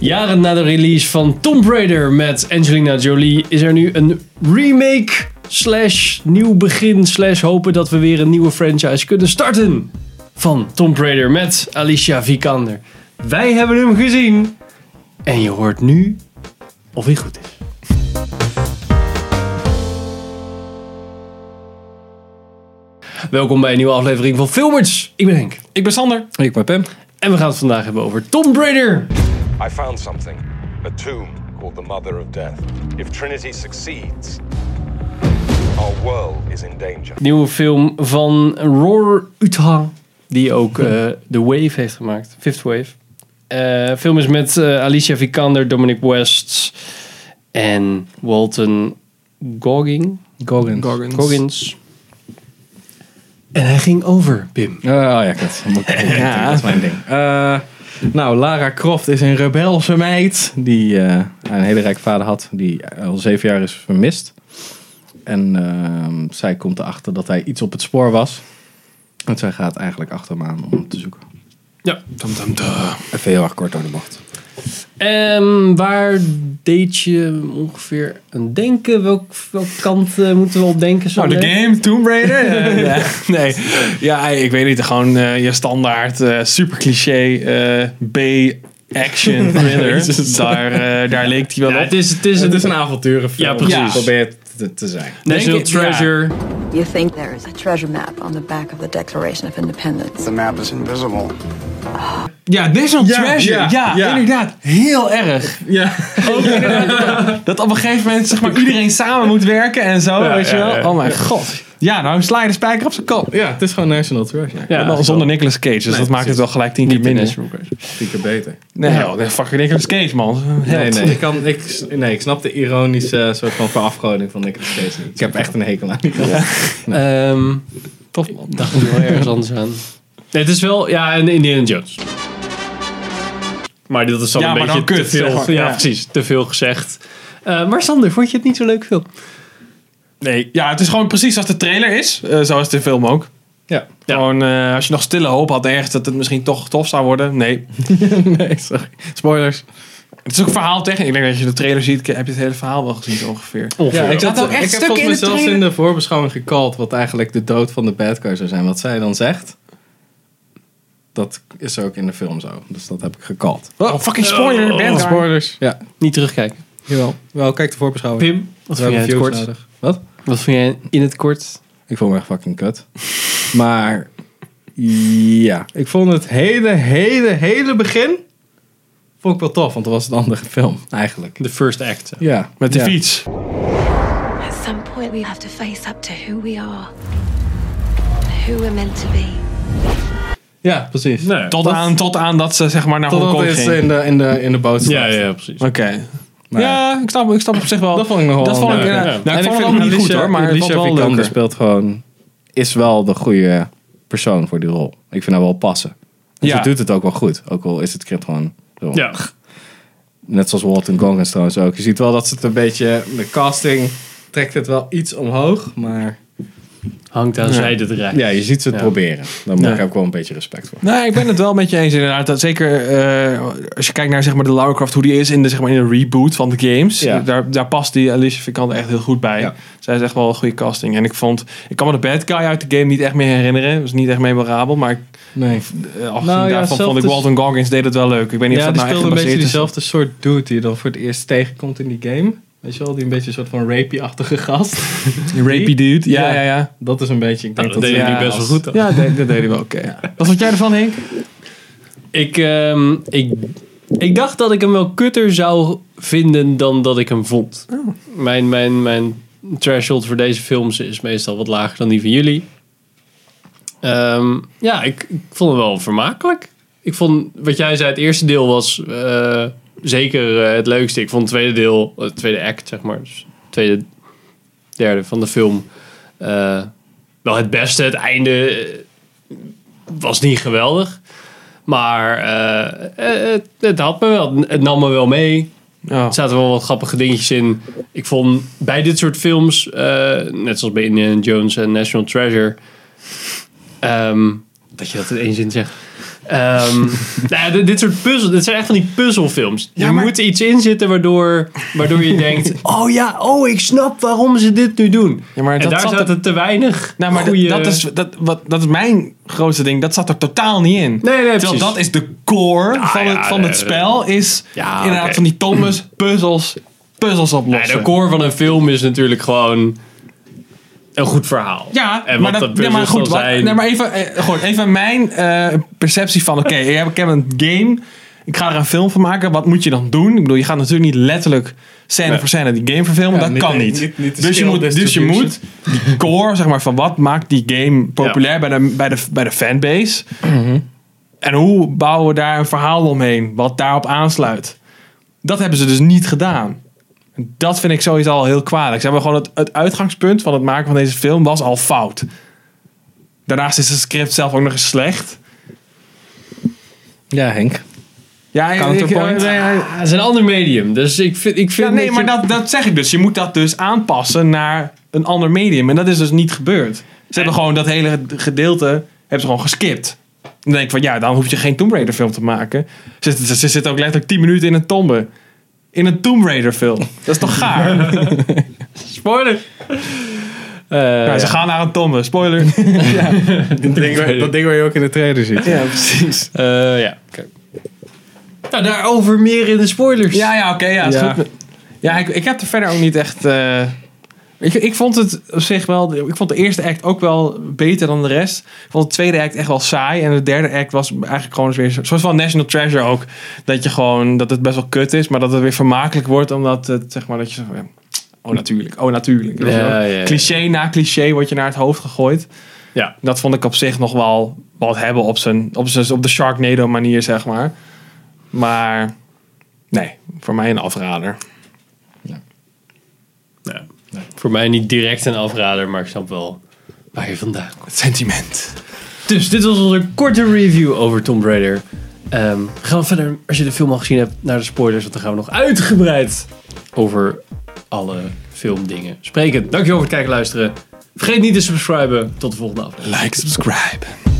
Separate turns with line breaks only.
Jaren na de release van Tomb Raider met Angelina Jolie is er nu een remake slash nieuw begin slash hopen dat we weer een nieuwe franchise kunnen starten van Tomb Raider met Alicia Vikander. Wij hebben hem gezien en je hoort nu of hij goed is. Welkom bij een nieuwe aflevering van Filmers. Ik ben Henk.
Ik ben Sander.
Ik ben Pim.
En we gaan het vandaag hebben over Tomb Raider.
I found something. A tomb called the Mother of Death. If Trinity succeeds, our world is in danger.
Nieuwe film van Roar Utah. Die ook eh, The Wave heeft gemaakt. Fifth Wave. Eh, film is met eh, Alicia Vikander, Dominic West en Walton Gogging.
Goggins.
Goggins.
Goggins. En hij ging over, Pim.
Eh, oh ja, kut. Dat moet ik even denken, Dat is mijn ding. Eh, nou, Lara Croft is een rebelse meid die eh, een hele rijke vader had, die al zeven jaar is vermist. En ehm, zij komt erachter dat hij iets op het spoor was. En zij gaat eigenlijk achter hem aan om hem te zoeken.
Ja.
Even heel erg kort door de bocht.
En Ehm, waar deed je ongeveer aan denken? Welk, welke kant eh, moeten we op denken?
Nou, de
Sander?
game, Tomb Raider. eh, ja, nee, ja, ik weet niet. Gewoon eh, je standaard, eh, super cliché eh, B-action thriller. daar, eh, daar leek hij wel
Ja,
op.
het is, het is
Het
een
is een avonturenfilm.
Ja, precies.
Ik Probeer het te- te zijn.
National
Denk ik, ja.
Treasure.
You think there is a treasure map on the back of the Declaration of Independence.
The map is invisible.
Ja, National
Ja,
Treasure. Ja,
ja, ja.
inderdaad. Heel erg.
Ja.
Ook inderdaad, dat op een gegeven moment zeg maar, iedereen samen moet werken en zo. weet je wel? Oh mijn god. Ja, nou sla je de spijker op zijn kop.
ja, het is gewoon National Treasure.
Ja, maar zonder Nicolas Cage, dus dat maakt het wel gelijk tien keer minder.
Tien keer beter.
Nee, joh, de fucking Nicolas Cage, man.
Nee,
Held.
nee, ik, kan, ik, nee, ik snap de ironische soort van verafgoding van Nicolas Cage niet. Ik heb echt een hekel aan Nicolas
Ehm,
Tof, man.
dacht ik wel ergens anders aan. Nee, het is wel, ja, een Indiana Jones. Maar dat is dan
Ja,
een
maar
beetje
dan
te
kut,
veel.
zeg maar.
ja,
Ja.
precies, te veel gezegd. Eh, maar Sander, vond je het niet zo leuk film?
Nee, ja, het is gewoon precies als de trailer is. eh, zoals de film ook.
Ja.
Ja.
Gewoon, eh, als je nog stille hoop had ergens dat het misschien toch tof zou worden. Nee.
nee, sorry. Spoilers.
Het is ook verhaaltechnisch. Ik denk dat als je de trailer ziet, heb je het hele verhaal wel gezien zo ongeveer.
Ongeveer.
ik,
zat-
zat,
wel echt
ik heb
stukken
volgens
in
mij
de
zelfs
trailer.
in de voorbeschouwing gecallt wat eigenlijk de dood van de bad guy zou zijn. Wat zij dan zegt, dat is ook in de film zo. Dus dat heb ik gecallt.
Oh, fucking spoiler.
Oh.
bad guy.
Spoilers. Ja,
Niet terugkijken.
jawel. Wel, kijk de voorbeschouwing.
Pim, wat vond jij in het kort?
Wat?
Wat vond jij in het kort?
Ik vond hem echt fucking kut. Maar ja, ik vond het hele, hele, hele begin vond ik wel tof. Want dat was een andere film, eigenlijk.
The first act.
Ja.
Met de
ja.
fiets.
At some point, we have to face up to who we are, who we're meant to be.
Ja, precies.
Nee.
Tot aan, tot aan dat ze zeg maar naar
Totdat
Hongkong
het
ging.
in de, in de, in de boot
ja,
staat.
ja, precies.
Oké.
Maar
Ja, ik snap, ik snap op zich wel.
Dat vond ik nog wel
Dat vond ik,
leuk,
ja.
ja.
Nou, ik
En
vond het
vind
allemaal niet goed
Alicia-
hoor, maar het
Alicia
was wel
Vikander
leuker.
speelt gewoon... Is wel de goede persoon voor die rol. Ik vind haar wel passen. En
Ja.
ze doet het ook wel goed. Ook al is het script gewoon... zo.
Ja.
Net zoals Walton Goggins trouwens ook. Je ziet wel dat ze het een beetje... De casting trekt het wel iets omhoog. Maar
Hangt aan zijde het
ja, je ziet ze het
Ja.
proberen. Daar mag
Ja.
ik ook wel een beetje respect voor.
Nee, ik ben het wel met je eens inderdaad. Dat zeker eh, als je kijkt naar zeg maar, de Lara Croft, hoe die is in de, zeg maar, in de reboot van de games.
Ja.
Daar, daar past die Alicia Vikander echt heel goed bij.
Ja.
Zij is echt wel een goede casting. En ik vond, ik kan me de bad guy uit de game niet echt meer herinneren. was niet echt memorabel, maar ik-
Nee.
eh, afgezien
Nou ja,
daarvan
zelf
vond ik
dus-
Walton Goggins deed het wel leuk. Ik weet niet
ja,
of dat
die
nou echt
speelde een beetje
gebaseerd is.
diezelfde soort dude die je dan voor het eerst tegenkomt in die game. Weet je wel, die een beetje een soort van rapey-achtige gast.
Rapey dude. Ja, ja, ja. ja.
Dat is een beetje, ik denk
Nou, dat
dat,
deed
ze-
hij
ja,
best wel
als-
goed. dan.
dat, dat deed hij wel oké. Wat vond jij ervan, Henk?
Ik, ehm, ik, ik dacht dat ik hem wel kutter zou vinden dan dat ik hem vond. Mijn, mijn, mijn threshold voor deze films is meestal wat lager dan die van jullie. Ehm, ja, ik, ik vond hem wel vermakelijk. Ik vond, wat jij zei, het eerste deel was eh, zeker eh, het leukste. Ik vond het tweede deel, eh, het tweede act, zeg maar, dus het tweede, derde van de film, eh, wel het beste. Het einde eh, was niet geweldig. Maar eh, eh, het, het had me wel. Het nam me wel mee.
Ja.
Er zaten wel wat grappige dingetjes in. Ik vond bij dit soort films, eh, net zoals bij Indiana Jones en National Treasure, ehm, dat je dat in één zin zegt. Eh, Ehm, nou ja, dit, dit soort puzzel, dit zijn echt van die puzzelfilms. er moet iets in zitten waardoor, waardoor je denkt: oh ja, oh ik snap waarom ze dit nu doen.
Ja, maar
en
dat
daar
zat
zaten te weinig.
Nou, maar dat-
goeie-
dat, is, dat, wat, dat is mijn grootste ding. Dat zat er totaal niet in.
nee,
Terwijl
precies.
dat is de core
Ja,
van, het,
ja,
van het
eh,
spel. Is
ja,
inderdaad
oké.
van die Thomas puzzels, puzzels
Ja,
oplossen.
de core van een film is natuurlijk gewoon een goed verhaal.
Ja,
en wat
maar
dat,
dat,
puzzels
nee, maar goed,
dan
wat-
zijn.
nee, maar even, eh, gewoon, even mijn eh, perceptie van: oké, ik heb- ik heb een game, ik ga er een film van maken, wat moet je dan doen? Ik bedoel, je gaat natuurlijk niet letterlijk scène voor scène die game verfilmen,
Ja,
dat
niet-
kan
niet-
niet.
niet- niet de
dus, je
skill
moet, dus je
distribution.
moet die core, zeg maar, van wat maakt die game populair bij, de, bij, de, bij de fanbase. En hoe bouwen we daar een verhaal omheen, wat daarop aansluit? Dat hebben ze dus niet gedaan. Dat vind ik sowieso al heel kwalijk. Ze hebben gewoon het, het uitgangspunt van het maken van deze film was al fout. Daarnaast is het script zelf ook nog eens slecht.
Ja, Henk.
Ja, ik-
Counterpoint.
ik- eh, nee,
Ja, Ah, het is een ander medium, dus ik vind... Ik vind
Ja, nee,
je-
maar dat, dat zeg ik dus. Je moet dat dus aanpassen naar een ander medium. En dat is dus niet gebeurd. Ze hebben gewoon dat hele gedeelte hebben ze gewoon geskipt. Dan denk ik van ja, dan hoef je geen Tomb Raider film te maken. Ze, ze, ze zitten ook letterlijk 10 minuten in een tombe. In een Tomb Raider film. Dat is toch gaar?
Spoiler! Eh,
Ja, ze gaan naar een tombe. Spoiler.
Dat ding, waar, dat ding waar je ook in de trailer ziet.
Ja, precies.
eh, ja. oké. Nou, daarover meer in de spoilers.
Ja, ja, oké. ja, is
Ja.
goed. ja ik, ik heb er verder ook niet echt... eh, ik, ik vond het op zich wel... Ik vond de eerste act ook wel beter dan de rest. Ik vond de tweede act echt wel saai. En de derde act was eigenlijk gewoon eens weer... zo- Zoals van National Treasure ook. Dat je gewoon... Dat het best wel kut is. Maar dat het weer vermakelijk wordt. Omdat het zeg maar... Dat je zo van, ja, Oh, natuurlijk. Oh, natuurlijk. Weet je
Ja,
wel.
ja, ja.
Cliché na cliché wordt je naar het hoofd gegooid.
Ja.
Dat vond ik op zich nog wel wat hebben op, zijn, op, zijn, op de Sharknado manier, zeg maar. Maar nee, voor mij een afrader.
Ja. Voor mij niet direct een afrader, maar ik snap wel waar je vandaan komt.
Het sentiment.
Dus dit was onze korte review over Tomb Raider. Ehm, we gaan verder, als je de film al gezien hebt, naar de spoilers. Want dan gaan we nog uitgebreid over alle filmdingen spreken. Dankjewel voor het kijken en luisteren. Vergeet niet te subscriben. Tot de volgende aflevering.
Like, subscribe.